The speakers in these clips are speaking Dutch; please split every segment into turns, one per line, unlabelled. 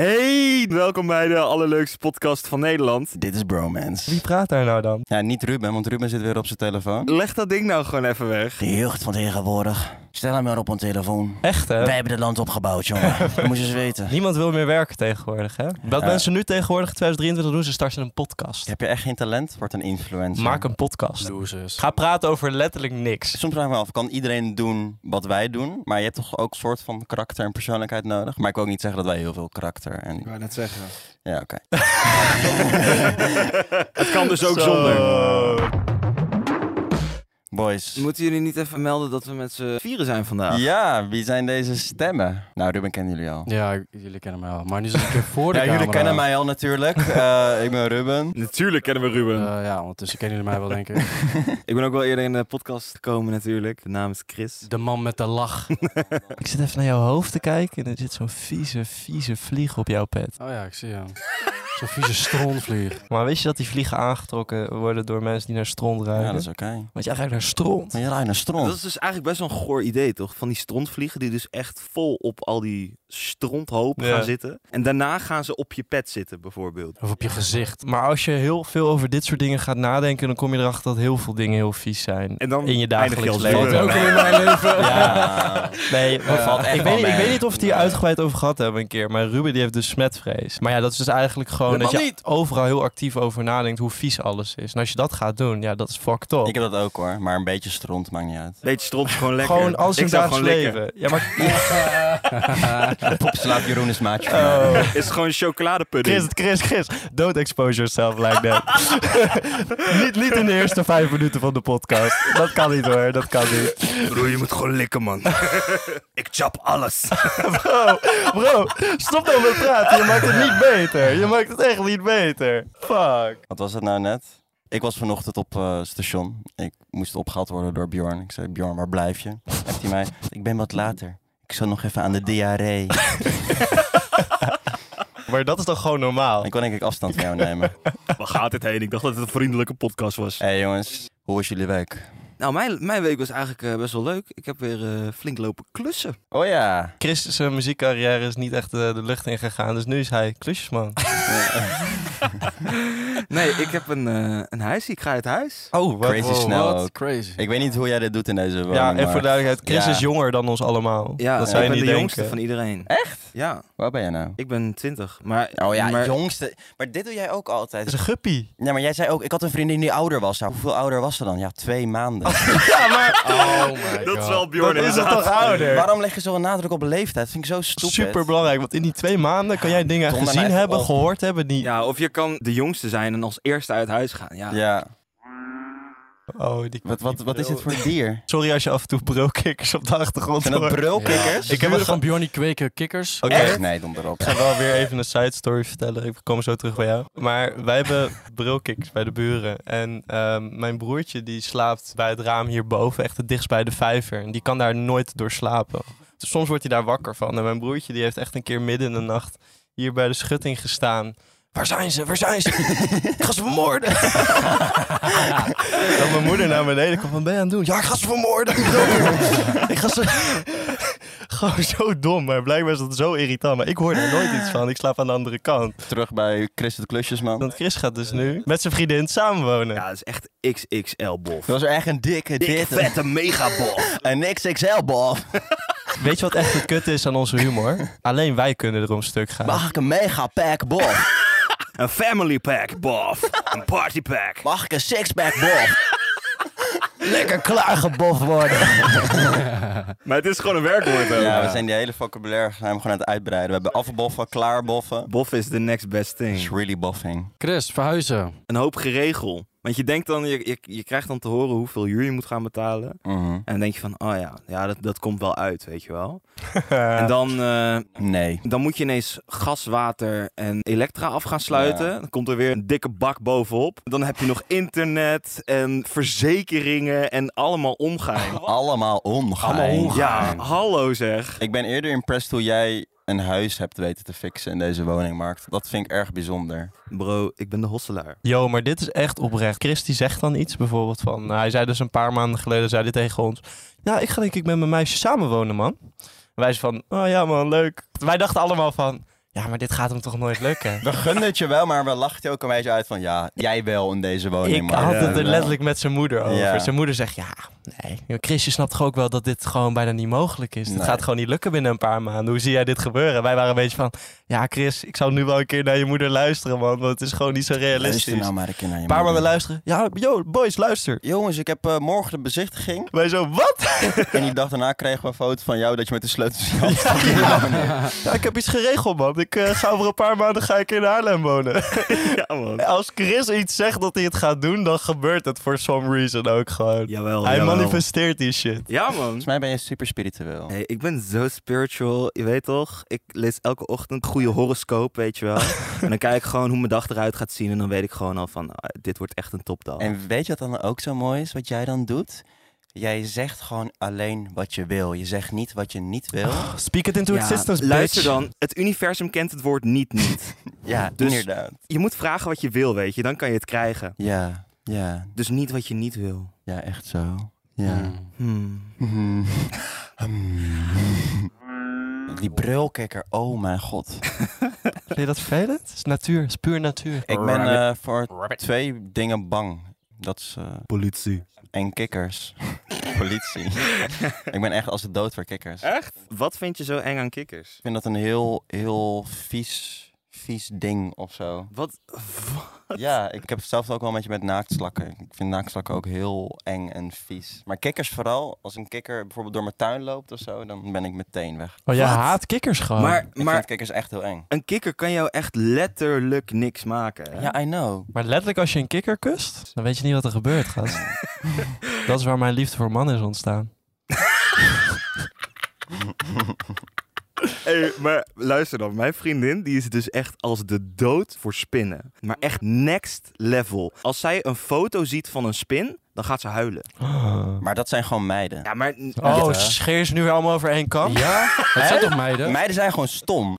Hey, welkom bij de allerleukste podcast van Nederland.
Dit is bromance.
Wie praat daar nou dan?
Ja, niet Ruben, want Ruben zit weer op zijn telefoon.
Leg dat ding nou gewoon even weg.
De jeugd van tegenwoordig. Stel hem maar op een telefoon.
Echt hè?
Wij hebben het land opgebouwd, jongen. Dat moet je eens weten.
Niemand wil meer werken tegenwoordig hè? Wat
Ja.
mensen nu tegenwoordig in 2023 doen, ze starten een podcast.
Heb je echt geen talent? Word een influencer.
Maak een podcast.
Losers.
Ga praten over letterlijk niks.
Soms vraag ik me af, kan iedereen doen wat wij doen? Maar je hebt toch ook een soort van karakter en persoonlijkheid nodig? Maar ik wil ook niet zeggen dat wij heel veel karakter en...
wou net zeggen.
Ja, oké.
Het kan dus ook zonder.
Boys.
Moeten jullie niet even melden dat we met z'n vieren zijn vandaag?
Ja, wie zijn deze stemmen? Nou, Ruben kennen jullie al.
Ja, jullie kennen mij al. Maar nu zit ik weer voor de
Ja,
camera.
jullie kennen mij al natuurlijk. Eh, ik ben Ruben.
Natuurlijk kennen we Ruben.
Eh, ja, ondertussen kennen jullie mij wel, denk ik.
Ik ben ook wel eerder in de podcast gekomen natuurlijk. De naam is Chris.
De man met de lach.
Ik zit even naar jouw hoofd te kijken en er zit zo'n vieze, vieze vlieg op jouw pet.
Oh ja, ik zie hem. Zo'n vieze stronvlieg.
Maar wist je dat die vliegen aangetrokken worden door mensen die naar
Ja,
stront ruiken?
dat is oké. Maar
Want jij ruikt naar stront.
Je ruikt naar stront.
Dat is dus eigenlijk best wel een goor idee, toch? Van die strontvliegen die dus echt vol op al die stronthoop
Ja.
gaan zitten. En daarna gaan ze op je pet zitten, bijvoorbeeld.
Of op je gezicht.
Maar als je heel veel over dit soort dingen gaat nadenken, dan kom je erachter dat heel veel dingen heel vies zijn.
En dan
in je
eindig je
dagelijks
als
leven.
Ruben.
ook
in mijn leven.
Ja.
Nee,
Dat valt echt
ik,
wel
weet, niet- ik
mee.
weet niet of we het hier uitgebreid over gehad hebben een keer. Maar Ruben die heeft dus smetvrees. Maar ja, dat is dus eigenlijk gewoon dat je
Helemaal
overal heel actief over nadenkt hoe vies alles is. En als je dat gaat doen, ja, dat is fucked up.
Ik heb dat ook hoor, maar een beetje stront maakt niet uit.
Beetje stront is gewoon lekker.
Gewoon als
ik
een
zou
dagelijks
gewoon likken.
leven. Ja, maar
Popslaap Jeroen is maatje van mij.
oh.
Is het gewoon chocoladepudding.
Chris, Chris, Chris. Don't expose yourself like that. niet, niet in de eerste vijf minuten van de podcast. Dat kan niet hoor, dat kan niet.
Broer, je moet gewoon likken, man. ik chap alles.
Bro, bro, stop nou met praten. Je maakt het niet beter. Je maakt het echt niet beter. Fuck.
Wat was het nou net? Ik was vanochtend op eh, station. Ik moest opgehaald worden door Bjorn. Ik zei, Bjorn, waar blijf je? Heeft hij mij, ik ben wat later. Ik zat nog even aan de diarree.
Maar dat is toch gewoon normaal?
Ik kon denk ik afstand van jou nemen.
Waar gaat dit heen? Ik dacht dat het een vriendelijke podcast was.
Hé hey, jongens, hoe was jullie week?
Nou, mijn, mijn week was eigenlijk eh, best wel leuk. Ik heb weer eh, flink lopen klussen.
Oh ja.
Chris, zijn muziekcarrière is niet echt eh, de lucht in gegaan, dus nu is hij klusjesman.
Nee, ik heb een, eh een huis. Ik ga uit huis.
Oh,
Crazy snel
Wat
ook.
crazy.
Ik weet niet hoe jij dit doet in deze woning.
Ja, en
maar
voor duidelijkheid, Chris
Ja.
is jonger dan ons allemaal.
Ja,
dat
ik
zou je
ben de
niet denken.
jongste van iedereen.
Echt?
Ja,
Waar ben jij nou?
ik ben 20. Maar,
Oh ja,
maar
jongste. Maar dit doe jij ook
Dat
altijd.
is een guppie.
Ja, maar jij zei ook, ik had een vriendin die ouder was. Nou, hoeveel ouder was ze dan? Ja, twee maanden.
Ja, maar
Oh my god.
dat is het toch ouder?
Waarom leg je zo'n nadruk op leeftijd? Vind ik zo stupid.
Super belangrijk, want in die twee maanden kan jij dingen
Tom, dan
gezien
even
hebben,
op.
gehoord hebben, die...
Ja, of je kan de jongste zijn en als eerste uit huis gaan. Ja.
Ja.
Oh, die...
Wat, wat, wat is dit voor dier?
Sorry als je af en toe brulkikkers op de achtergrond
Zijn dat
hoort.
brulkikkers?
Ik heb een
van
ga-
Bjorny Kweker Kikkers.
Oké.
Echt? Nee, donder op.
Ik ga wel weer even een side story vertellen. Ik kom zo terug bij jou. Maar wij hebben brilkiks bij de buren. En ehm, mijn broertje die slaapt bij het raam hierboven, echt het dichtst bij de vijver. En die kan daar nooit door slapen. Dus soms wordt hij daar wakker van. En mijn broertje die heeft echt een keer midden in de nacht hier bij de schutting gestaan. Waar zijn ze? Waar zijn ze? ik ga ze vermoorden. dat mijn moeder naar beneden kwam van, ben je aan het doen? Ja, ik ga ze vermoorden. ik ga ze... Gewoon zo dom, maar blijkbaar is dat zo irritant. Maar ik hoor er nooit iets van. Ik slaap aan de andere kant.
Terug bij Chris de Klusjesman. Dat
Want Chris gaat dus nu met zijn vriendin samenwonen.
Ja, dat is echt XXL-bof.
was echt een dikke
Dik,
dit.
vette megabof.
Een XXL bal.
Weet je wat echt het kut is aan onze humor? Alleen wij kunnen erom stuk gaan.
Mag ik een mega pack bal?
Een family pack bof. Een party pack.
Mag ik een six pack bal? Lekker klaargeboft worden.
Maar het is gewoon een werkwoord. ook.
Ja, we zijn die hele vocabulaire zijn we gewoon aan het uitbreiden. We hebben afboffen, klaarboffen.
Bof is the next best thing.
It's really boffing.
Chris, verhuizen.
een hoop geregel. Want je denkt dan, je, je, je krijgt dan te horen hoeveel huur je moet gaan betalen.
Mhm.
En dan denk je van, oh ja, ja dat, dat komt wel uit, weet je wel. En dan, eh,
Nee.
dan moet je ineens gas, water en elektra af gaan sluiten. Dan komt er weer een dikke bak bovenop. Dan heb je nog internet en verzekeringen en allemaal omgaan.
Allemaal omgaan.
Allemaal
Ja, hallo zeg.
Ik ben eerder impressed hoe jij een huis hebt weten te fixen in deze woningmarkt. Dat vind ik erg bijzonder.
Bro, ik ben de hosselaar.
Yo, maar dit is echt oprecht. Chris die zegt dan iets bijvoorbeeld van... nou, hij zei dus een paar maanden geleden zei hij tegen ons... Ja, ik ga denk ik met mijn meisje samenwonen, man. En wij zijn van, oh ja man, leuk. Wij dachten allemaal van... Ja, maar dit gaat hem toch nooit lukken?
We gunnen het je wel, maar we lachten ook een beetje uit van ja, jij wel in deze woning.
Ik
Oh, maar
had
jij
het er
wel.
letterlijk met zijn moeder over.
Ja.
Zijn moeder zegt, ja, nee. joh, Chris, je snapt toch ook wel dat dit gewoon bijna niet mogelijk is. Het
Nee.
gaat gewoon niet lukken binnen een paar maanden. Hoe zie jij dit gebeuren? Wij waren een beetje van, ja Chris, ik zou nu wel een keer naar je moeder luisteren, man. Want het is gewoon niet zo realistisch.
Luister nou maar een keer naar je
een paar maanden
moeder.
luisteren. Ja, yo, boys, luister.
Jongens, ik heb eh, morgen de bezichtiging.
Wij zo, wat?
en die dag daarna kregen we een foto van jou dat je met de sleutels in je hand stond.
Ja, ik heb iets geregeld, man. Ik eh, ga over een paar maanden ga ik in Haarlem wonen.
Ja, man.
Als Chris iets zegt dat hij het gaat doen, dan gebeurt het for some reason ook gewoon.
Jawel,
Hij
jawel.
manifesteert die shit.
Ja, man.
Volgens mij ben je super spiritueel.
Oh. Hey, ik ben zo spiritual, je weet toch? Ik lees elke ochtend een goede horoscoop, weet je wel. en dan kijk ik gewoon hoe mijn dag eruit gaat zien. En dan weet ik gewoon al van, ah, dit wordt echt een topdag.
En weet je wat dan ook zo mooi is, wat jij dan doet? Jij zegt gewoon alleen wat je wil. Je zegt niet wat je niet wil.
Speak it into
Ja,
existence, bitch.
luister dan, het universum kent het woord niet niet.
ja,
dus-
inderdaad.
je moet vragen wat je wil, weet je. Dan kan je het krijgen.
Ja, ja,
Dus niet wat je niet wil.
ja, echt zo. Ja.
Hmm.
Hmm.
Hmm. Hmm. Die brulkikker, oh mijn god.
Vind je dat vervelend? Het is natuur, het is puur natuur.
Ik ben eh, voor twee dingen bang. Dat is, eh,
Politie.
en kikkers. Politie. ik ben echt als de dood voor kikkers.
Echt? Wat vind je zo eng aan kikkers?
Ik vind dat een heel, heel vies, vies ding of zo.
Wat?
Ja, ik heb zelf ook wel een beetje met naaktslakken. Ik vind naaktslakken ook heel eng en vies. Maar kikkers vooral, als een kikker bijvoorbeeld door mijn tuin loopt of zo, dan ben ik meteen weg.
Oh, jij
Wat?
haat kikkers gewoon.
Maar,
Ik vind
maar
kikkers echt heel eng.
een kikker kan jou echt letterlijk niks maken. hè?
Ja, I know.
Maar letterlijk als je een kikker kust, dan weet je niet wat er gebeurt, gast. dat is waar mijn liefde voor mannen is ontstaan.
Hey, maar luister dan, mijn vriendin die is dus echt als de dood voor spinnen. Maar echt next level. Als zij een foto ziet van een spin, dan gaat ze huilen.
Oh,
Maar dat zijn gewoon meiden.
Ja, maar...
oh
Ja.
scheer ze nu weer allemaal over één kam?
Ja? Dat zijn toch meiden?
Meiden zijn gewoon stom.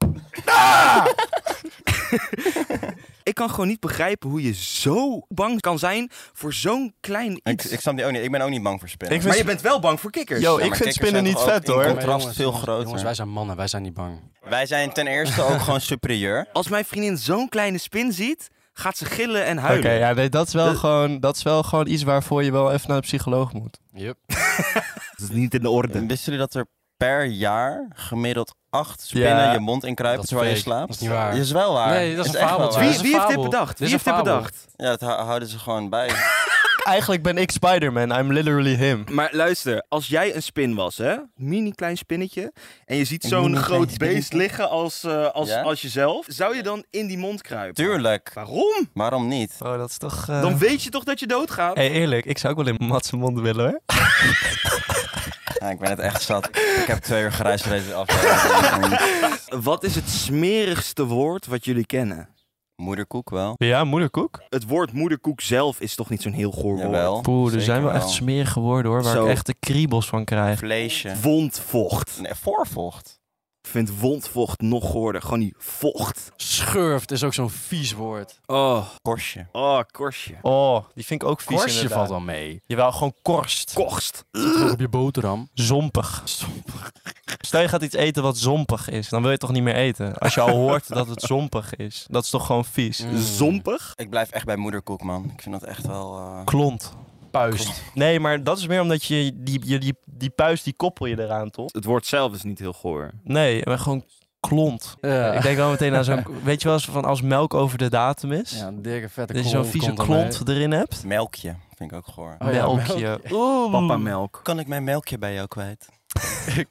Ik kan gewoon niet begrijpen hoe je zo bang kan zijn voor zo'n klein
Ik,
iets.
ik snap die ook niet. Ik ben ook niet bang voor spinnen.
Ik vind-
Maar je bent wel bang voor kikkers.
Yo,
Ja,
ik
maar
vind
kikkers
spinnen
zijn
niet
toch ook
vet
in
hoor.
contact.
Maar
contrast
jongens,
veel
jongens,
groter.
Jongens, wij zijn mannen, wij zijn niet bang.
Wij zijn ten eerste ook gewoon superieur.
Als mijn vriendin zo'n kleine spin ziet, gaat ze gillen en
Oké,
huilen.
ja, nee, dat, is wel
Eh.
gewoon, dat is wel gewoon iets waarvoor je wel even naar een psycholoog moet.
Yep.
Dat is niet in de orde.
Wisten jullie dat er per jaar gemiddeld acht spinnen
Ja.
je mond in
Dat
kruipen
is
terwijl je
fake.
slaapt?
Dat is niet waar.
Dat is wel waar.
Nee, dat is een
echt wel
fabeltje.
waar.
Wie,
is een
wie heeft dit
fabel.
bedacht?
Dit
Wie
is
heeft
een
dit
fabel.
bedacht?
Ja, dat hou- houden ze gewoon bij.
Eigenlijk ben ik Spider-Man, I'm literally him.
Maar luister, als jij een spin was, hè? Mini klein spinnetje. En je ziet
Een
zo'n
mini klein
groot
spinnetje.
beest liggen als, eh, als,
Ja?
als jezelf. Zou je dan in die mond kruipen?
Tuurlijk. Eh.
Waarom?
Waarom niet?
Oh, dat is toch...
Dan weet je toch dat je doodgaat?
hey, eerlijk, ik zou ook wel in Mats' mond willen hoor.
Ja, ik ben het echt zat. Ik heb twee uur grijs deze aflevering.
Wat is het smerigste woord wat jullie kennen?
Moederkoek wel.
Ja, moederkoek.
Het woord moederkoek zelf is toch niet zo'n heel goor woord?
Jawel.
Poeh, er
Zeker
zijn wel echt smerige woorden hoor, waar
Zo.
ik echt de kriebels van krijg.
Vleesje.
Wondvocht.
Nee, voorvocht.
Ik vind wondvocht nog goorder. Gewoon die vocht.
Schurft is ook zo'n vies woord.
Oh,
Korstje.
oh korstje.
Oh, die vind ik ook vies
Korstje
inderdaad.
valt wel mee.
Jawel, gewoon korst.
Korst.
Op je boterham.
zompig. Stel je gaat iets eten wat zompig is, dan wil je toch niet meer eten. Als je al hoort dat het zompig is, dat is toch gewoon vies.
Mm.
Zompig.
Ik blijf echt bij moederkoek, man. Ik vind dat echt wel... eh,
Klont.
Puist.
Nee, maar dat is meer omdat je die, je die, die puis die koppel je eraan, toch?
Het woord zelf is niet heel goor.
Nee, maar gewoon klont.
Ja.
Ik denk wel meteen aan zo'n... Weet je wel eens van als melk over de datum is?
Ja, een dikke vette
dat je zo'n vieze klont erin hebt?
Melkje. Vind ik ook goor.
Oh ja,
Melkje. Oeh.
Papa melk.
Kan ik mijn melkje bij jou kwijt?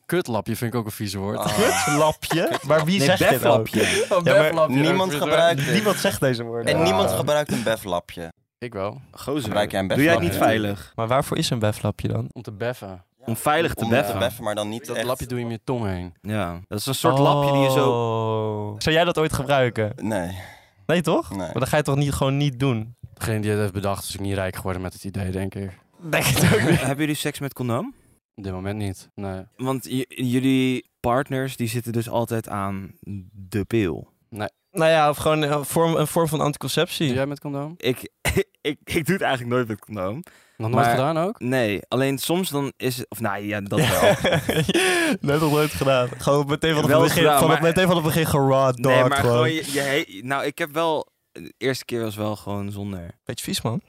Kutlapje vind ik ook een vies woord.
Ah.
Kutlapje? Oh. Maar wie
Nee,
zegt dit ook?
beflapje.
Een
maar
beflapje
niemand
ook, vind ik
gebruikt
wel.
dit.
Niemand zegt deze woorden.
En
Ja.
niemand gebruikt een beflapje.
Ik wel.
Gozer.
Gebruik jij een
Doe jij het niet
beflapje?
veilig?
Maar waarvoor is een beflapje dan?
Om te beffen.
Om veilig te
Om, eh,
beffen.
maar dan niet
Dat
echt...
lapje doe je met je tong heen.
Ja, dat is een soort lapje die je zo...
zo... Zou jij dat ooit gebruiken?
Nee,
Nee, toch?
nee.
Maar dan ga je toch niet, gewoon niet doen?
Degene die het heeft bedacht is ook niet rijk geworden met het idee, denk ik.
Denk het ook niet.
Hebben jullie seks met condoom?
Op dit moment niet. Nee.
Want j- jullie partners die zitten dus altijd aan de pil.
Nou ja, of gewoon een eh, vorm, een vorm van anticonceptie.
Doe jij met condoom?
Ik, ik, ik doe het eigenlijk nooit met condoom.
Nog nooit
Maar-
gedaan ook?
Nee, alleen soms dan is het... Of nou ja, dat wel.
Net nog nooit gedaan. Gewoon meteen van het
Wel eens
begin,
gedaan,
van het,
maar-
meteen van het begin gerad dog.
nee, maar gewoon...
gewoon.
je, je he- nou, ik heb wel... De eerste keer was wel gewoon zonder.
Beetje vies, man.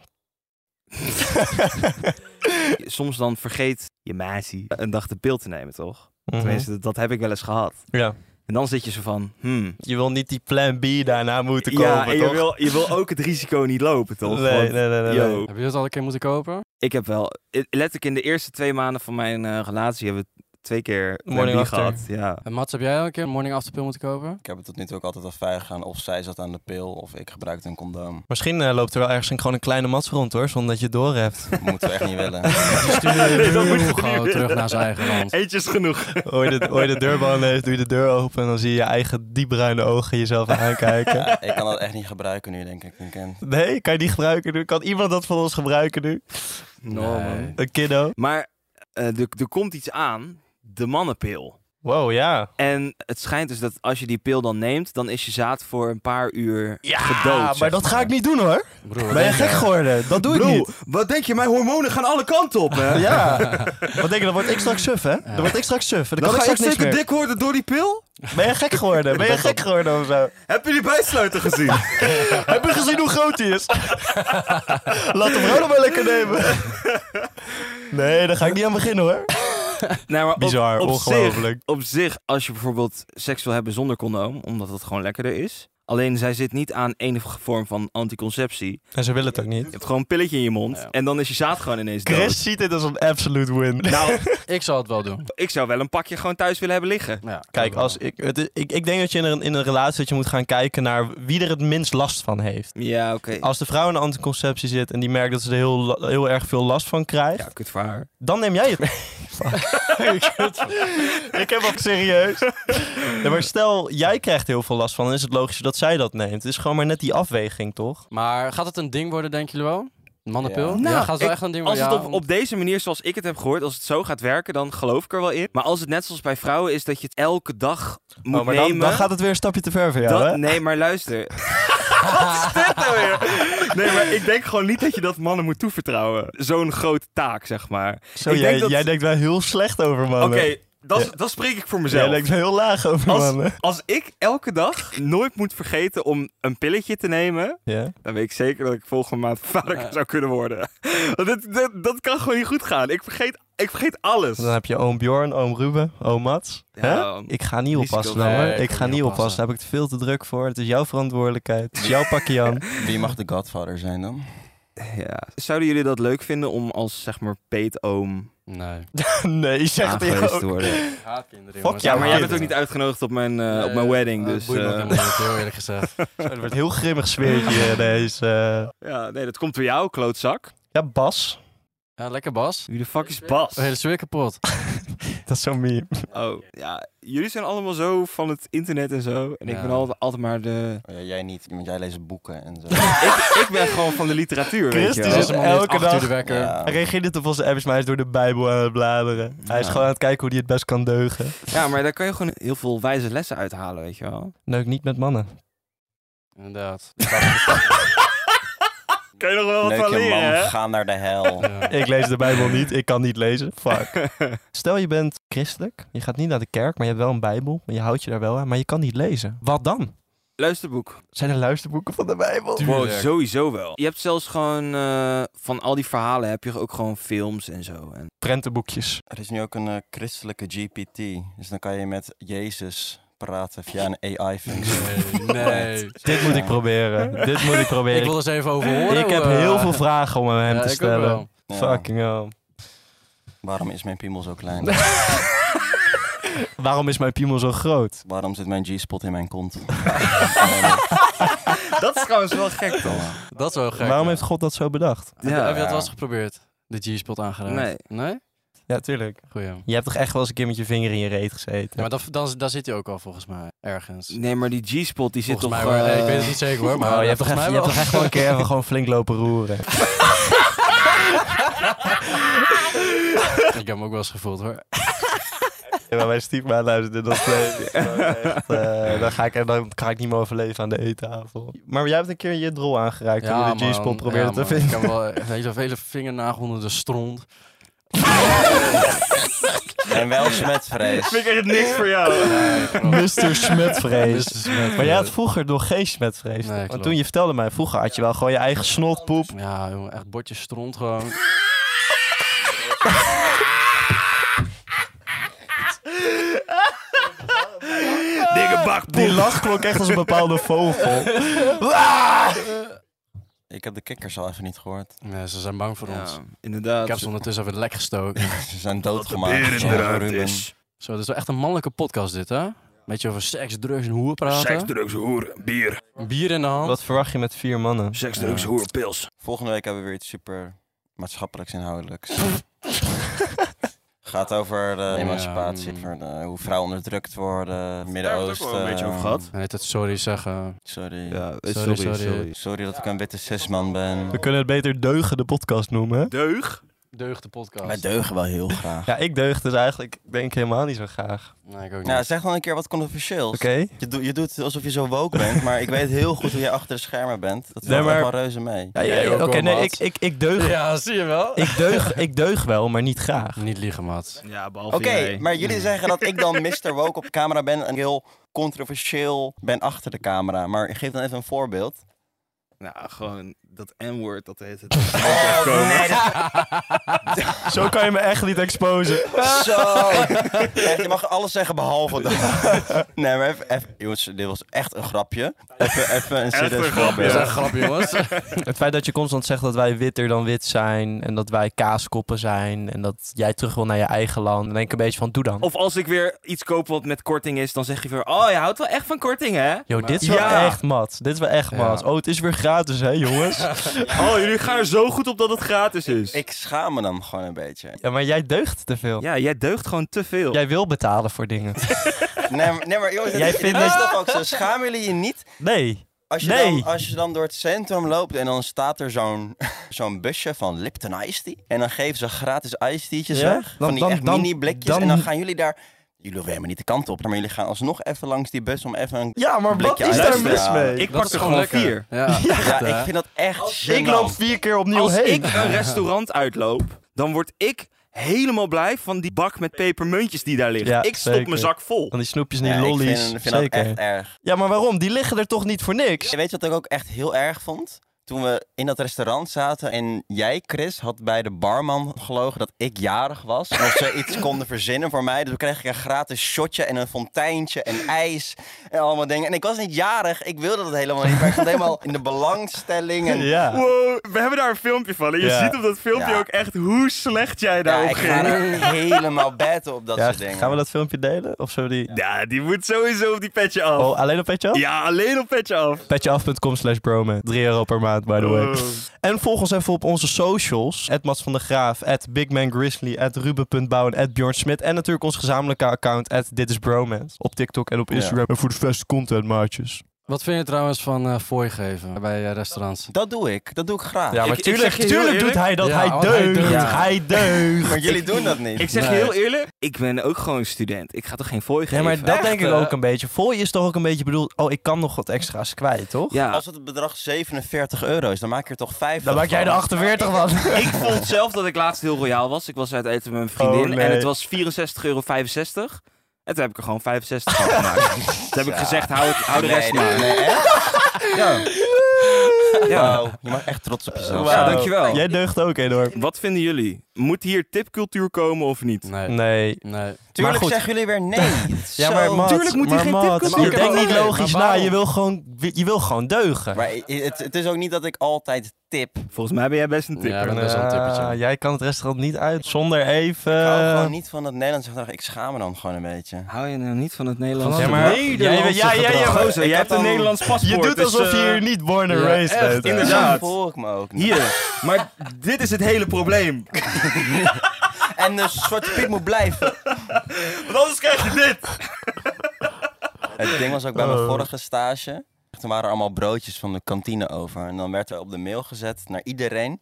Soms dan vergeet je meisje een dag de pil te nemen, toch?
Mhm.
Tenminste, dat, dat heb ik wel eens gehad.
Ja.
En dan zit je zo van, hmm.
Je wil niet die plan B daarna moeten komen,
ja, en je
toch?
wil, je wil ook het risico niet lopen, toch?
nee,
Want-
nee, nee, nee, nee.
Yo.
Heb je dat al een keer moeten kopen?
Ik heb wel, eh, letterlijk in de eerste twee maanden van mijn eh, relatie hebben we twee keer
Morning
Plan B
after.
gehad. Ja.
En Mats, heb jij al een keer een morning after pill moeten kopen?
Ik heb het tot nu toe ook altijd als veilig gegaan. Of zij zat aan de pil, of ik gebruikte een condoom.
Misschien eh, loopt er wel ergens een, gewoon een kleine mats rond, hoor. Zonder dat je het door hebt.
Moeten we echt niet willen.
Die stuurde
Nee, dat moet je
heel
niet
gauw
willen.
terug naar zijn eigen land.
Eentje is genoeg.
Hoor je de, hoor je de deurbel leeg, doe je de deur open... en dan zie je je eigen diepbruine ogen jezelf aankijken.
ik kan dat echt niet gebruiken nu, denk ik. Weekend.
Nee, kan je die gebruiken nu? Kan iemand dat van ons gebruiken nu?
No,
Nee.
man.
Een kiddo?
Maar eh, er, er komt iets aan, de mannenpil.
Wow, ja.
En het schijnt dus dat als je die pil dan neemt, dan is je zaad voor een paar uur gedood. zeg
maar dat ga ik niet doen, hoor.
Broer, wat
Ben je
denk
gek
jij?
geworden? Dat doe ik
Bro,
niet.
wat denk je? Mijn hormonen gaan alle kanten op, hè?
Ja. Wat denk je, dan word ik straks suf, hè? Dan word ik straks suf. Dan,
Dan
kan
ga
ik
je
straks niks
zeker
meer.
dik worden door die pil?
Ben je gek geworden? Ben je gek geworden of zo?
Heb je die bijsluiter gezien?
Heb je gezien hoe groot hij is? Laat hem vrouw nog maar lekker nemen. Nee, daar ga ik niet aan beginnen, hoor.
nou, maar op-
Bizar,
op zich-
ongelooflijk.
op zich, als je bijvoorbeeld seks wil hebben zonder condoom, omdat het gewoon lekkerder is. Alleen zij zit niet aan enige vorm van anticonceptie.
En ze willen het ook niet.
Je hebt gewoon een pilletje in je mond
Ja.
en dan is je zaad gewoon ineens dood.
Chris ziet dit als een absolute win.
Nou,
Ik zal het wel doen.
ik zou wel een pakje gewoon thuis willen hebben liggen.
Ja,
Kijk, als ik, het is- ik, ik denk dat je in een, in een relatie dat je moet gaan kijken naar wie er het minst last van heeft.
Ja, oké.
Als de vrouw in de anticonceptie zit en die merkt dat ze er heel, la- heel erg veel last van krijgt,
Ja, kut voor haar.
dan neem jij het mee. ik heb ook serieus. Nee, maar stel, jij krijgt heel veel last van, dan is het logisch dat zij dat neemt. Het is gewoon maar net die afweging, toch?
Maar gaat het een ding worden, denken jullie wel? Mannenpil?
Ja.
Ja.
Nou,
gaat het wel
ik-
echt een ding
Als
worden?
het
Ja,
op, op deze manier, zoals ik het heb gehoord, als het zo gaat werken, dan geloof ik er wel in. Maar als het net zoals bij vrouwen is dat je het elke dag moet
Oh, maar
nemen...
dan, dan gaat het weer een stapje te ver voor jou,
dat-
hè?
nee, maar luister. Wat is dit nou weer? Nee, maar ik denk gewoon niet dat je dat mannen moet toevertrouwen. Zo'n grote taak, zeg maar.
Zo,
ik
jij,
denk dat-
jij denkt wel heel slecht over mannen.
Oké, dat, is-
Oh, Ja.
dat spreek ik voor
Jij
mezelf.
denkt wel heel laag over
als,
mannen.
als ik elke dag nooit moet vergeten om een pilletje te nemen,
Ja.
dan weet ik zeker dat ik volgende maand vader
Ja.
zou kunnen worden. Want dit- dit- dat kan gewoon niet goed gaan. Ik vergeet, ik vergeet alles.
Dan heb je oom Bjorn, oom Ruben, oom Mats. Hè?
Ja,
Ik ga niet
risico-
oppassen, nou, hoor.
Nee, ik
ik
kan
ga
niet
niet oppassen.
oppassen.
Daar heb ik het veel te druk voor. Het is jouw verantwoordelijkheid. Het is jouw pakje aan.
Wie mag de godfather zijn dan?
Ja. Zouden jullie dat leuk vinden om als zeg maar peetoom
Nee.
nee, zegt hij
aangewezen
ook.
te worden?
Haatkinderen,
jongens.
Ja, maar jij
Haatkinderen.
bent ook niet uitgenodigd op mijn, eh, op mijn wedding, dus...
boeit me ook
eh,
helemaal niet, heel eerlijk gezegd.
Het wordt een heel grimmig sfeertje ineens. eh.
ja, nee, dat komt door jou, klootzak.
Ja, Bas.
Ja, lekker Bas.
Wie de fuck is Bas?
De hele sfeer kapot.
Dat is zo'n meme.
Oh, ja. Jullie zijn allemaal zo van het internet en zo. En ik
Ja.
ben altijd, altijd maar de...
Oh ja, jij niet, want jij leest boeken en zo.
ik, ik ben gewoon van de literatuur, weet je
Christus
wel.
Het is
is
hem al
elke
acht uur
dag-
de wekker.
Ja.
Hij reageert op onze apps, maar hij is door de Bijbel aan het bladeren. Hij is
Ja.
gewoon aan het kijken hoe hij het best kan deugen.
Ja, maar daar kan je gewoon heel veel wijze lessen uithalen, weet je wel.
Leuk niet met mannen.
Inderdaad.
Kan je nog wel
Leuk je man, ga naar de hel.
Ja.
Ik lees de Bijbel niet, ik kan niet lezen. Fuck. Stel je bent christelijk, je gaat niet naar de kerk, maar je hebt wel een Bijbel. En je houdt je daar wel aan, maar je kan niet lezen. Wat dan?
Luisterboek.
Zijn er luisterboeken van de Bijbel?
Wow, sowieso wel. Je hebt zelfs gewoon... eh, van al die verhalen heb je ook gewoon films en zo. En
Prentenboekjes.
Er is nu ook een eh, christelijke GPT. Dus dan kan je met Jezus praten via een AI-functie.
Nee, nee.
Dit moet ik proberen. Dit moet ik
Ik
proberen.
wil
Ik,
eens even over horen.
heb
hoe, eh,
heel veel vragen om aan hem
ja,
te
ik ook
stellen.
wel.
Ja.
Fucking hell.
Waarom is mijn piemel zo klein?
Waarom is mijn piemel zo groot?
Waarom zit mijn G-spot in mijn kont?
dat is trouwens wel gek, toch?
Dat is wel gek.
Waarom
ja.
heeft God dat zo bedacht?
Heb je-
Ja.
Heb je dat wel eens geprobeerd? De G-spot aangeraakt?
Nee.
Nee?
Ja, tuurlijk.
Goeie. Ja,
Je hebt toch echt wel eens een keer met je vinger in je reet gezeten?
maar dat, dan, daar zit hij ook al volgens mij. Ergens.
Nee, maar die G-spot die zit
volgens mij
toch...
hoor. Nee,
eh,
ik weet het niet zeker hoor. Maar
Oh, je hebt toch echt,
volgens
je
mij
hebt toch echt wel een keer even gewoon flink lopen roeren?
Ik heb hem ook wel eens gevoeld hoor.
Ja, maar mijn stiefma luisterde dat bleef. Oh, Echt, eh, dan, ga ik, dan kan ik niet meer overleven aan de eettafel. Maar jij hebt een keer je drol aangeraakt toen je de
man,
G-spot probeerde
ja,
te
man.
vinden.
Ik heb wel een hele, hele vingernagel onder de stront.
En wel smetvrees.
Vind ik echt niks voor jou.
Nee, klopt.
Mr. Smetvrees.
Mr. Smetvrees.
Maar jij had vroeger nog geen smetvrees.
Nee,
toch? Want
klopt.
toen je vertelde mij, vroeger had je wel gewoon je eigen snotpoep.
Ja, jongen, echt bordjes stront gewoon.
Dikke bakpoep.
Die lach klonk echt als een bepaalde vogel.
Ik heb de kikkers al even niet gehoord.
Nee, ze zijn bang voor ons.
Ja, inderdaad.
Ik heb ze ondertussen even lek gestoken.
Ze zijn
Beer
doodgemaakt.
in
Ja,
de ruimte
Ruben.
is.
Zo, dit is wel echt een mannelijke podcast dit, hè? Beetje over seks, drugs en hoeren praten.
Seks, drugs, hoeren, bier.
Bier in de hand.
Wat verwacht je met vier mannen?
Seks,
Ja.
drugs, hoeren, pils.
Volgende week hebben we weer iets super maatschappelijks inhoudelijks. Gaat over eh, de emancipatie,
mm.
over de- hoe vrouwen onderdrukt worden,
Daar hebben we het
Midden-Oosten.
ook wel een beetje over gehad.
Hij heet het sorry eh, zeggen.
Sorry.
Ja,
Sorry, sorry.
Sorry dat ik een witte cisman ben.
We kunnen het beter deugen de podcast noemen.
Deug.
Deugd de podcast.
Wij deugen wel heel graag.
Ja, ik deug dus eigenlijk denk ik helemaal niet zo graag.
Nee, ik ook niet.
Nou, zeg dan een keer wat controversieels.
Oké?
Je, doet- je doet alsof je zo woke bent, maar ik weet heel goed hoe jij achter de schermen bent. Dat
Nee,
valt echt
maar-
wel reuze mee.
Ja,
Jij
ja,
ook
Oké,
wel,
nee,
maat.
ik, ik, ik deug.
Ja, zie je wel.
Ik deug, ik deug wel, maar niet graag.
Niet liegen, maat.
Ja, behalve
Oké, maar jullie zeggen dat ik dan Mr. Woke op camera ben en heel controversieel ben achter de camera. Maar geef dan even een voorbeeld.
Nou, gewoon dat N-word, dat heet het.
nee, dat-
Zo kan je me echt niet exposen.
Zo! Echt, je mag alles zeggen behalve dat. Nee, maar even, even- jongens, dit was echt een grapje. Even, even een serieus
een grapje.
Dat is
voorbeeld.
echt grappig, jongens.
Het feit dat je constant zegt dat wij witter dan wit zijn en dat wij kaaskoppen zijn en dat jij terug wil naar je eigen land, dan denk ik een beetje van doe dan.
Of als ik weer iets koop wat met korting is, dan zeg je weer... Oh, je houdt wel echt van korting, hè?
Yo, dit is wel
Ja.
echt mat. Dit is wel echt
Ja.
mat. Oh, het is weer gratis, hè, jongens?
Oh, jullie gaan er zo goed op dat het gratis is.
Ik schaam me dan gewoon een beetje.
ja, maar jij deugt te veel.
Ja, jij deugt gewoon te veel.
Jij wil betalen voor dingen.
Nee, maar- nee maar jongens,
Jij
jij dit,
vindt-
dit is toch ook zo. Schamen jullie je niet?
Nee.
Als je,
Nee.
dan, als je dan door het centrum loopt en dan staat er zo'n zo'n busje van Lipton Ice Tea. En dan geven ze gratis ice tea'tjes
Ja?
weg.
Dan-
van die
dan-
echt
dan-
mini blikjes.
dan-
En dan gaan jullie daar... Jullie hoeven helemaal niet de kant op. Maar jullie gaan alsnog even langs die bus om even een...
Ja, maar
Blikje ijs. Luister,
ik
Dat
pak
is
er gewoon
lekker.
vier.
Ja.
Ja,
hè?
ik vind dat echt
Ik
gênant.
loop vier keer opnieuw
Als
heen.
ik een restaurant uitloop, dan word ik helemaal blij van die bak met pepermuntjes die daar ligt.
Ja,
ik stop
zeker.
mijn zak vol.
Van die snoepjes en die
Ja, ik
lollies.
vind, vind dat
Zeker.
echt erg.
Ja, maar waarom? Die liggen er toch niet voor niks?
Weet je wat ik ook echt heel erg vond? Toen we in dat restaurant zaten en jij, Chris, had bij de barman gelogen dat ik jarig was. En of ze iets konden verzinnen voor mij. Dus toen kreeg ik een gratis shotje en een fonteintje en ijs en allemaal dingen. En ik was niet jarig, ik wilde dat helemaal niet. Maar ik zat helemaal in de belangstelling. En...
Ja.
Wow, we hebben daar een filmpje van. En je
Ja.
ziet op dat filmpje
Ja.
ook echt hoe slecht jij
Ja,
daarop
ik
ging.
ga er helemaal betten op dat
nou, Ja,
soort dingen.
gaan we dat filmpje delen? Of zullen we die...
Ja, die moet sowieso op die petje af.
Oh, alleen op Petje Af?
Ja, alleen op petje af.
Petjeaf.com slash broman. 3 euro per maand, by the way.
Oh.
En volg ons even op onze socials. Mats van der Graaf, at bigmangrizzly, at ruben.bouwen, at Bjorn Smit. En natuurlijk ons gezamenlijke account, at dit is bromance. Op TikTok en op
Ja.
Instagram. En voor de beste content, maatjes.
Wat vind je trouwens van eh fooi geven bij eh, restaurants?
Dat doe ik, dat doe ik graag.
Ja,
Ik-
maar
ik
tuurlijk,
zeg je heel
tuurlijk doet
eerlijk-
hij dat.
Ja,
hij
want hij
deugt.
deugt.
Ja.
Hij deugt.
Maar jullie doen dat niet.
Ik zeg je
Nee.
heel eerlijk, ik ben ook gewoon student. Ik ga toch geen fooi
Nee,
geven?
maar dat denk ik
hè?
ook een beetje. Fooi is toch ook een beetje bedoeld, oh, ik kan nog wat extra's kwijt, toch?
Ja,
Als het bedrag 47 euro is, dan maak je er toch 50
Dan maak jij de
van.
48 van.
ik vond zelf dat ik laatst heel royaal was. Ik was uit eten met mijn vriendin
Oh, nee.
en het was 64,65 euro. En toen heb ik er gewoon 65 van gemaakt. toen heb ik
Ja.
gezegd, hou, het- hou de
Nee,
rest
nee,
maar.
nee, echt?
Ja.
Wauw, je mag echt trots op jezelf
Wauw.
zijn.
Ja, dankjewel.
Jij deugt ook enorm.
Wat vinden jullie? Moet hier tipcultuur komen of niet?
Nee. Nee.
Nee.
Tuurlijk
Maar goed.
zeggen jullie weer nee.
Ja, maar
Zo.
Mats,
Tuurlijk moet hij
maar
geen
Mats,
tipkast
Je
maken.
denkt niet
Maar
logisch na,
waarom?
je wil gewoon, je wil gewoon deugen.
Maar i- i- het, het is ook niet dat ik altijd tip. Ik
Volgens mij ben jij best een tipper.
Ja, dat is wel een
Ja,
tippetje.
Eh, jij kan het restaurant niet uit zonder even...
hou gewoon niet van dat Nederlandse gedrag. Ik schaam me dan gewoon een beetje.
Hou je nou niet van het Nederlands?
Ja, maar- Nederlandse
ja, ja, ja,
gedrag.
gozer,
Ik
jij
had
hebt een
dan-
Nederlands paspoort.
je doet
dus,
alsof je
eh,
hier niet born and
ja,
raised
echt,
bent. hè.
inderdaad.
Zo voel ik me ook. niet.
Hier, maar dit is het hele probleem.
En de zwarte piet moet blijven.
Want anders krijg je dit.
Het ding was ook bij mijn vorige stage. Toen waren er allemaal broodjes van de kantine over. En dan werd er op de mail gezet naar iedereen.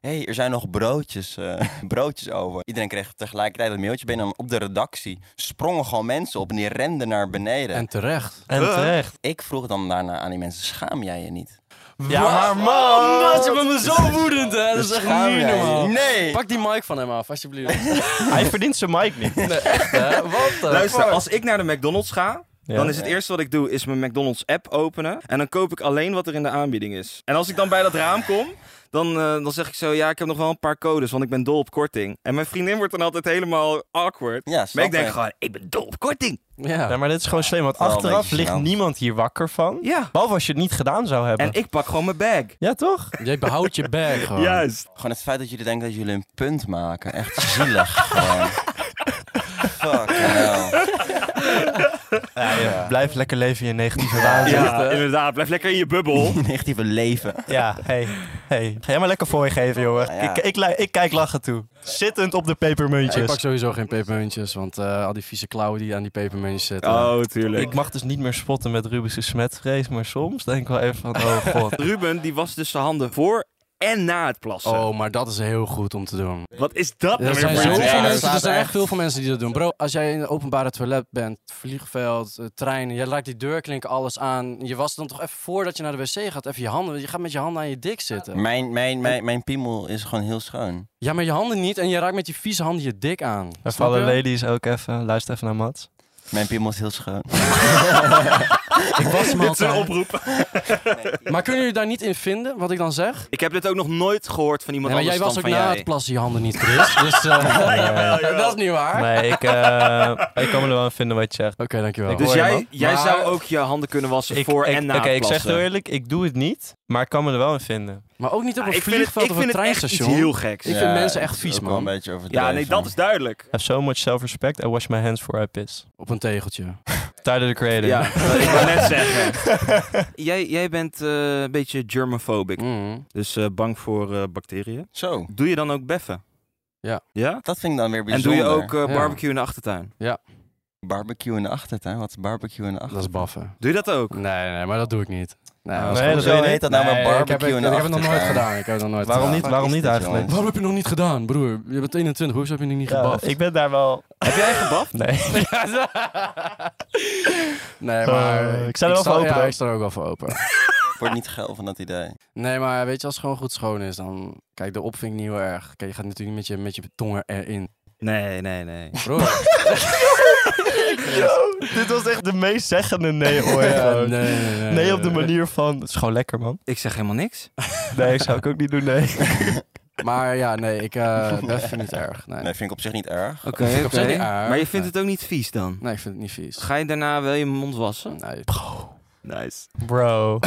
Hé, hey, er zijn nog broodjes, eh, broodjes over. Iedereen kreeg tegelijkertijd een mailtje binnen. En op de redactie sprongen gewoon mensen op en die renden naar beneden.
En terecht.
En
Huh?
terecht.
Ik vroeg dan daarna aan die mensen, schaam jij je niet?
Ja, maar
man! Dat je me zo woedend, hè? Dat is echt
dus Schaam
niet
jij je?
normaal.
Nee!
Pak die mic van hem af, alsjeblieft.
Hij verdient zijn mic niet.
Nee, echt, hè? Wat dan?
Luister, als ik naar de McDonald's ga,
Ja.
dan is het eerste wat ik doe, is mijn McDonald's app openen. En dan koop ik alleen wat er in de aanbieding is. En als ik dan bij dat raam kom, dan, eh, dan zeg ik zo, ja, ik heb nog wel een paar codes, want ik ben dol op korting. En mijn vriendin wordt dan altijd helemaal awkward.
Ja, snap
maar ik denk
ik.
gewoon, ik ben dol op korting.
Ja.
Ja, maar dit is gewoon slim, want
Wel een
achteraf
beetje
ligt
gênant.
niemand hier wakker van.
Ja.
Behalve als je het niet gedaan zou hebben.
En ik pak gewoon mijn bag.
Ja, toch?
Jij behoudt je bag gewoon.
Gewoon het feit dat jullie denken dat jullie een punt maken. Echt zielig. gewoon. Fuck hell.
Ja, ja. Blijf lekker leven in je negatieve waarde. Ja,
Ja, inderdaad. Blijf lekker in je bubbel.
Negatieve leven.
hey. hey. Ga jij maar lekker voor je geven, jongen.
Ja, ja.
Ik, ik, li- ik kijk lachen toe. Zittend op de
Ik pak
pepermuntjes.
Dus sowieso geen pepermuntjes, want eh, al die vieze klauwen die aan die pepermuntjes zitten.
Oh, tuurlijk.
Ik mag dus niet meer spotten met Rubens' smetvrees, maar soms denk ik wel even van, oh god.
Ruben, die was dus zijn handen voor en na het plassen.
Oh, maar dat is heel goed om te doen.
Wat is dat
Er
nou
zijn
weer voor
zoveel
iets?
Ja, dat
mensen,
staat
er zijn echt
echt.
veel van mensen die dat doen. Bro, als jij in een openbare toilet bent, vliegveld, eh, treinen, jij raakt die deurklinken, alles aan. Je was dan toch even voordat je naar de wc gaat, even je handen, je gaat met je handen aan je dik zitten.
Mijn, mijn, mijn, mijn piemel is gewoon heel schoon.
Ja, maar je handen niet en je raakt met die vieze handen je dik aan.
En voor
Snap
alle
je?
ladies ook even, luister even naar Mats.
Mijn piemel is heel schoon.
Ik was hem
Dit is een
altijd.
oproep.
Maar kunnen jullie daar niet in vinden, wat ik dan zeg?
Ik heb dit ook nog nooit gehoord van iemand
Nee, maar jij
anders
was ook
dan
na
van jij.
het plassen je handen niet, Chris. dus eh, dat is niet waar.
Nee, ik, eh, ik kan me er wel aan vinden wat je zegt.
Oké, dankjewel.
Ik
Dus
Hoor je
jij,
hem
jij
Maar-
zou ook je handen kunnen wassen
Ik,
voor
ik-
en na
Oké,
het
ik
plassen.
zeg het heel eerlijk, ik doe het niet, maar ik kan me er wel aan vinden.
Maar ook niet op een
Ah, ik vind het,
vliegveld
ik
of een
vind het echt iets
treinstation.
heel geks.
Ik vind mensen echt
het is
vies,
ook wel
man.
een beetje overdreven.
Ja, nee, dat is duidelijk.
I have so much self-respect, I wash my hands before I piss.
Op een tegeltje.
Tyler, the creator.
Ja, ik wou net zeggen. Jij, jij bent eh, een beetje germophobic,
Mm.
dus eh, bang voor eh, bacteriën.
Zo,
Doe je dan ook beffen?
Ja.
Ja?
dat vind ik dan weer
En
bijzonder.
doe je ook eh,
Ja.
barbecue in de achtertuin?
Barbecue in de achtertuin. Wat is barbecue in de
Dat is
achtertuin?
baffen.
Doe je dat ook?
Nee, nee, maar dat doe ik niet.
Nee,
dat is
dat
goed.
doe
Zo
je
heet
niet?
dat nou maar
Nee,
barbecue
ik heb,
in
het-
de
ik heb het nog nooit
achtertuin.
gedaan. Ik heb het nog nooit
Waarom
gedaan.
niet, waarom
Fuck is dit,
niet eigenlijk?
jongens?
Waarom heb je nog niet gedaan, broer? Je bent 21, hoezo heb je nog niet
Ja,
gebaft?
ik ben daar wel...
Heb jij gebaft?
Nee.
nee, maar...
Eh, ik sta er wel voor open,
ja,
hoor.
ik sta er ook wel voor open.
Wordt niet geil van dat idee.
Nee, maar weet je, als het gewoon goed schoon is, dan... Kijk, de opving niet heel erg. Kijk, je gaat natuurlijk niet met je, met je tong erin.
Nee, nee, nee.
Broer.
Dit was echt de meest zeggende nee ooit.
Ja,
gewoon.
nee, nee, nee,
Nee op de
nee.
manier van, het is gewoon lekker man.
Ik zeg helemaal niks.
Nee, zou ik ook niet doen, nee.
Maar ja, nee, ik eh, dat vind ik niet erg. Nee.
Nee, vind ik op zich niet erg.
Oké,
vind ik op
oké.
zich niet erg.
Maar je vindt
Nee.
het ook niet vies dan?
Nee, ik vind het niet vies.
Ga je daarna wel je mond wassen?
Nee.
Nice.
Bro.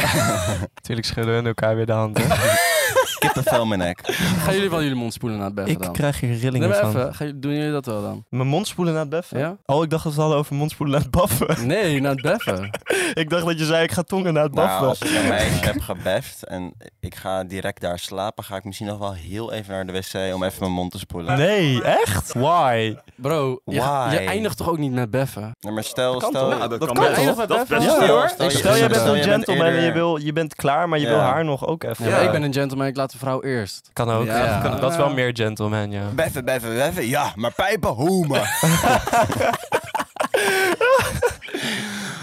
Tuurlijk schudden hun elkaar weer de hand. hè.
Kippenvel in mijn nek.
Gaan jullie wel jullie mond spoelen na het bed
Ik
dan?
krijg hier
Nee,
rillingen
maar
van.
even. Ga je- doen jullie dat wel dan?
Mijn mond spoelen na het beffen?
Ja?
Oh, ik dacht dat we het hadden over mond spoelen na het baffen.
Nee, na het beffen.
ik dacht dat je zei, ik ga tongen na het
Nou,
baffen.
als ik aan mij heb gebeft en ik ga direct daar slapen, ga ik misschien nog wel heel even naar de wc om even mijn mond te spoelen.
Nee, echt? Why?
Bro, je,
Why?
je eindigt toch ook niet met beffen?
Nee, maar stil,
Dat kan
stel,
toch?
Nou, dat,
Dat
kan
kan
best.
toch?
Dat is best
Ja.
veel, hoor.
Stel je-
Stel, jij bent
Stel,
een
je bent
gentleman en
eerder-
je, wil, je bent klaar, maar je
Ja.
wil haar nog ook even.
Ja.
Ja, ik ben een gentleman, ik laat de vrouw eerst.
Kan ook.
Ja,
Ja.
kan ook.
Dat is wel meer gentleman, ja.
Beffen, beffen, beffen. Ja, maar pijpen, hoemen.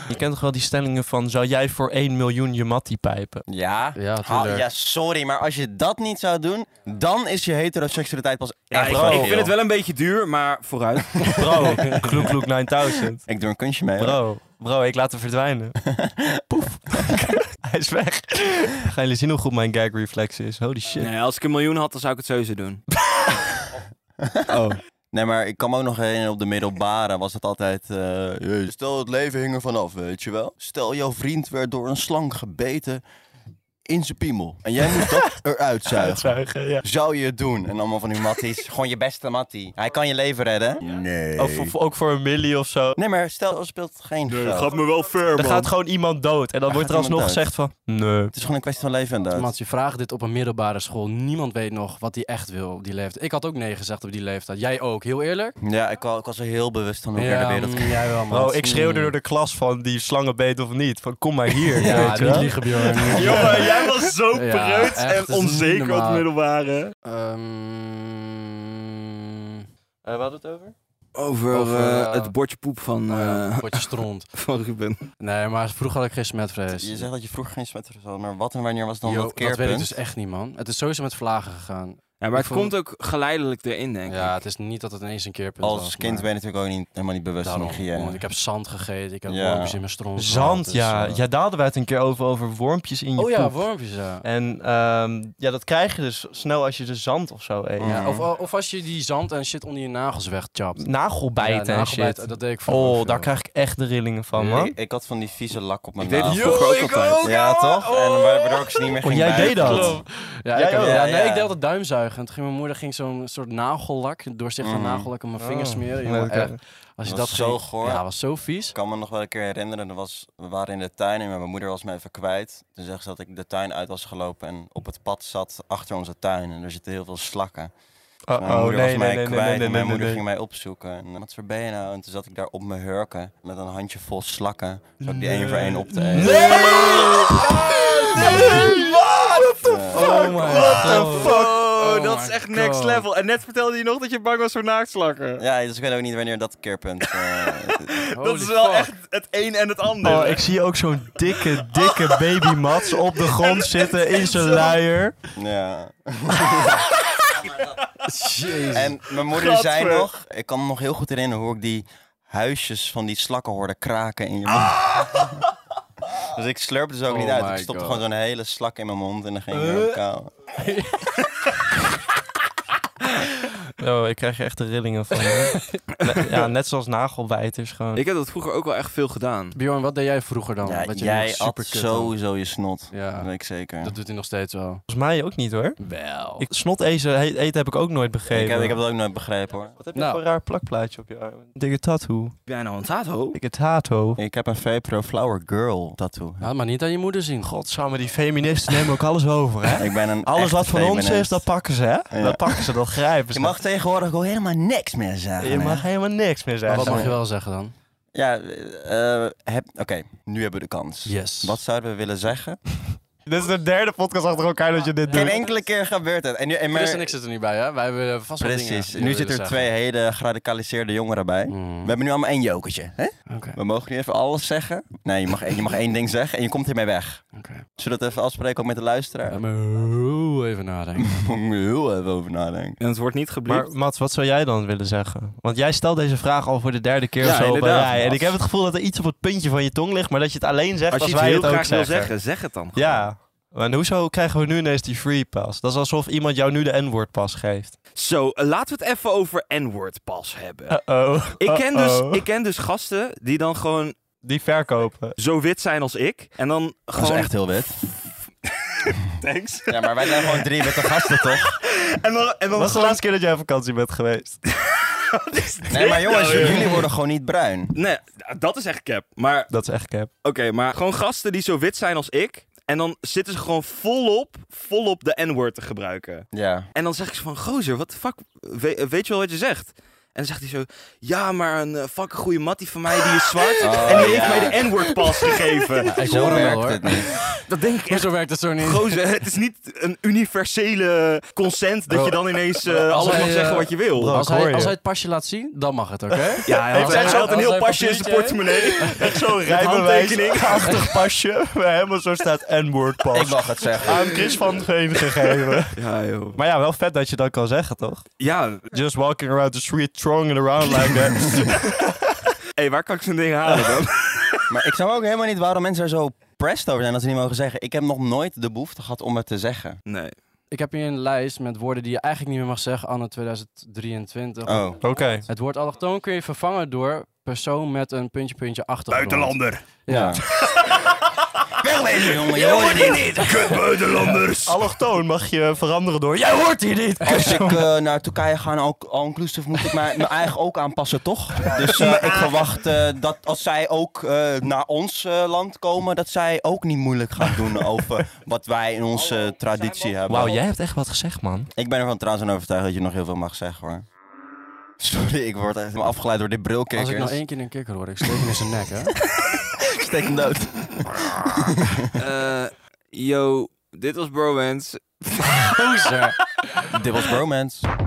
Je kent toch wel die stellingen van, zou jij voor 1 miljoen je mattie pijpen?
Ja?
Ja,
Ha-
tuurlijk.
ja, sorry, maar als je dat niet zou doen, dan is je heteroseksualiteit pas
Ja,
echt
ik,
een
ik
heel.
vind het wel een beetje duur, maar vooruit.
Bro, kloek kloek 9000.
Ik doe een kunstje mee. hoor.
Bro, bro, ik laat hem verdwijnen. Poef. Hij is weg. Gaan jullie zien hoe goed mijn gag reflex is? Holy shit.
Nee, als ik een miljoen had, dan zou ik het sowieso doen.
Oh. Nee, maar ik kan me ook nog herinneren, op de middelbare was het altijd... eh, stel, het leven hing er vanaf, weet je wel. Stel, jouw vriend werd door een slang gebeten. in zijn piemel. En jij moet dat eruit zuigen.
Zuigen, ja.
Zou je het doen? En allemaal van die matties. Gewoon je beste mattie. Hij kan je leven redden. Nee.
Of, of ook voor een millie of zo.
Nee, maar stel, er speelt geen geld.
me wel ver,
Er gaat gewoon iemand dood. En dan wordt er
gaat
alsnog
iemand dood.
gezegd van... Nee.
Het is gewoon een kwestie van leven en dood.
Mats, je vraagt dit op een middelbare school. Niemand weet nog wat hij echt wil op die leeftijd. Ik had ook nee gezegd op die leeftijd. Jij ook, heel eerlijk?
Ja, ik, wa- ik was er heel bewust van hoe ver de wereld
mm, jij wel,
Bro,
Mats.
Oh, ik schreeuwde
Mm.
door de klas van die slangenbeet of niet. Van kom maar hier.
Ja,
weet je
niet
wel.
liegen, Björn. Niet
Jongen, jij was zo
Ja,
preuts en
echt, het is niet
onzeker op het
normaal.
middelbare.
Ehm,
Eh, waar hadden we het over?
Over,
Over,
eh,
eh,
het bordje poep van,
oh ja,
eh,
potje stront.
van Ruben.
Nee, maar vroeger had ik geen smetvrees.
Je zegt dat je vroeger geen smetter had, maar wat en wanneer was dan
Yo,
dat keerpunt?
weet ik dus echt niet, man. Het is sowieso met vlagen gegaan.
Ja, maar
Ik
het
vond-
komt ook geleidelijk erin, denk ik.
Ja, het is niet dat het ineens een keerpunt was.
Als kind
maar
ben je natuurlijk ook niet, helemaal niet bewust
daarom,
van hygiëne.
want Ik heb zand gegeten, ik heb
Ja.
wormpjes in mijn stront. gehad,
Zand,
dus,
ja.
eh,
Ja, daar hadden wij het een keer over, over wormpjes in je
Oh ja,
poep.
wormpjes, ja.
En ehm, ja, dat krijg je dus snel als je de zand of zo eet.
Mm.
Ja, of, of als je die zand en shit onder je nagels wegchapt.
Nagelbijten
Ja,
en
nagelbijten,
shit.
Dat deed ik vroeger
Oh,
veel.
daar krijg ik echt de rillingen van,
Nee,
man.
Ik, ik had van die vieze lak op mijn
Ik deed het
nagel.
vroeger ook altijd.
Ja, toch? En waardoor ik ze niet meer
Oh,
ging
jij deed
buigen.
dat?
Ja,
Jij
ik heb-
ook?
ja,
Ja,
nee,
ja.
ik deed altijd duimzuigen. En toen ging mijn moeder ging zo'n soort nagellak, een doorzichtige
Mm.
nagellak, op mijn vingers
Oh,
smeren.
nee,
Jongen,
dat kan-
echt. Als je
Dat
dat
was zo
ging-
goor.
Ja, was zo vies.
Ik kan me nog wel een keer herinneren, er was, we waren in de tuin en mijn moeder was me even kwijt. Toen zegt ze dat ik de tuin uit was gelopen en op het pad zat achter onze tuin. En er zitten heel veel slakken. Dus
Oh,
mijn
oh,
moeder
nee,
was
nee,
mij
nee, nee,
kwijt
nee,
en
nee,
mijn
nee,
moeder
nee.
ging mij opzoeken. En wat voor ben je nou? En toen zat ik daar op mijn hurken met een handje vol slakken. Zat ik die één voor één op te eten.
Nee! Nee! What the
Oh
fuck?
my
What the
God.
fuck?
Oh,
Oh
dat is
my
echt next
God.
level. En net vertelde je nog dat je bang was voor naaktslakken.
Ja, dus ik weet ook niet wanneer dat keerpunt... eh,
dat
Holy
is wel
fuck.
echt het een en het ander.
Oh, ik zie ook zo'n dikke, dikke baby Mats op de grond zitten in zijn luier.
ja.
Jezus.
En mijn moeder
Gadver.
zei nog, ik kan me nog heel goed herinneren hoe ik die huisjes van die slakken hoorde kraken in je mond. Dus ik slurpte ze ook
Ah! Oh
niet uit.
my
Ik stopte
God.
gewoon zo'n hele slak in mijn mond en dan ging ik weer op kou.
Oh, ik krijg er echt de rillingen van. hè. Ne- ja, net zoals nagelbijters gewoon.
Ik heb dat vroeger ook wel echt veel gedaan.
Bjorn, wat deed jij vroeger dan?
Ja,
Dat je
jij
nog
at
superkut had.
sowieso je snot. Dat
Ja,
weet ik zeker.
dat doet hij nog steeds wel.
Volgens mij ook niet hoor.
Wel.
Ik, snot eten, he- eten heb ik ook nooit begrepen.
ik, heb, ik heb dat ook nooit begrepen hoor.
Wat heb je
Nou.
voor een raar plakplaatje op je arm? Dikke tattoo.
Heb jij nou een tato?
Dikke tattoo.
Ik heb een VPRO Flower Girl tattoo.
Laat maar niet aan je moeder zien.
Godsamme, die feministen nemen ook alles over hè.
Ik ben een
Alles
echte
wat van ons is,
feminist.
dat pakken ze hè.
Ja.
Dat pakken ze, dat grijpen
Je
ze.
mag tegenwoordig ook helemaal niks meer zeggen.
Je mag
hè?
helemaal niks meer
Maar
zeggen.
wat mag je wel zeggen dan?
Ja, eh, heb- oké, nu hebben we de kans.
Yes.
Wat zouden we willen zeggen?
Dit is de derde podcast achter elkaar dat je dit
Geen
doet.
enkele keer gebeurt het. En nu, en maar-
Chris en ik zitten er niet bij, hè? Wij hebben vast wel dingen
Precies.
die
Nu
we
zitten er
willen
twee hele geradicaliseerde jongeren bij.
zeggen. Mm.
We hebben nu allemaal één jokertje. Hè?
Oké,
We mogen nu even alles zeggen. Nee, je mag, één- je mag één ding zeggen en je komt hiermee weg.
oké.
Zullen we dat even afspreken ook met de luisteraar?
Mm. Laat me heel Even nadenken.
Daar moet ik heel even over nadenken.
En het wordt niet gebliept.
Maar Mats, wat zou jij dan willen zeggen? Want jij stelt deze vraag al voor de derde keer
Ja,
of zo op een
inderdaad,
rij. En
Mats.
ik heb het gevoel dat er iets op het puntje van je tong ligt, maar dat je het alleen zegt als,
Als je het
wij
heel
het ook
graag wil
zeggen.
zeggen, zeg het dan.
Ja. En hoezo krijgen we nu ineens die free pass? Dat is alsof iemand jou nu de N-woord pas geeft.
Zo, laten we het even over N-word pas hebben.
Uh-oh.
ik, ken dus,
Uh-oh.
ik ken dus gasten die dan gewoon
Die verkopen.
zo wit zijn als ik. En dan
Dat is
gewoon...
echt heel wit.
Thanks.
Ja, maar wij zijn gewoon drie witte gasten, toch?
En dan, en dan
Dat is de laatste keer dat jij op vakantie bent geweest.
Nee, maar jongens,
Nou, joh.
jullie worden gewoon niet bruin.
Nee, dat is echt cap. Maar
Dat is echt cap.
Oké, maar gewoon gasten die zo wit zijn als ik. En dan zitten ze gewoon volop, volop de N-word te gebruiken.
Ja.
En dan zeg ik ze van, gozer, wat de fuck, we- eh, weet je wel wat je zegt? En dan zegt hij zo, ja, maar een eh, fucking goede mattie van mij, die is zwart.
Oh,
en die
ja.
heeft mij de N-word pas gegeven.
Ik
Zo
hoor hem wel
werkt
hoor.
het niet.
Dat denk ik echt,
Zo werkt het zo niet.
gozer, het is niet een universele consent dat je dan ineens eh, alles
hij,
mag zeggen
eh,
wat je wil.
bro,
Als
ik hoor
hij,
je.
als hij het pasje laat zien, dan mag het, oké?
ja, hij had,
Als hij-
hij had een
als
heel
hij
pasje in zijn
papiertje-
portemonnee. Echt zo'n handtekening.
Achtig pasje. Waar helemaal zo staat N-woord
Ik
pas.
mag het zeggen.
Aan Chris van Geen gegeven.
Ja, joh.
Maar ja, wel vet dat je dat kan zeggen, toch?
Ja,
Just walking around the street, throwing it around like that.
hey, waar kan ik zo'n ding halen dan?
Maar ik snap ook helemaal niet waarom mensen er zo pressed over zijn dat ze niet mogen zeggen. Ik heb nog nooit de behoefte gehad om het te zeggen.
Nee.
Ik heb hier een lijst met woorden die je eigenlijk niet meer mag zeggen, anno 2023.
Oh.
Oké.
Het woord allochtoon kun je vervangen door persoon met een puntje, puntje, achtergrond.
Buitenlander.
Ja.
Wegwezen, jongen. Je hoort hier niet.
Kut buitenlanders!
Allochtoon mag je veranderen door. Jij hoort hier niet!
Als ik eh, naar Turkije ga, al, al inclusive, moet ik mijn, mijn eigen ook aanpassen, toch? Dus eh, ik verwacht eh, dat als zij ook eh, naar ons eh, land komen, dat zij ook niet moeilijk gaan doen over wat wij in onze eh, traditie hebben.
Wauw, jij hebt echt wat gezegd, man.
Ik ben ervan trouwens aan overtuigd dat je nog heel veel mag zeggen, hoor. Sorry, ik word echt helemaal afgeleid door dit brilkikker.
Als ik nou één keer een kikker hoor, ik steek hem in zijn nek, hè?
steek hem dood.
Eh, yo, dit was Bromance.
Gozer.
Dit was bromance.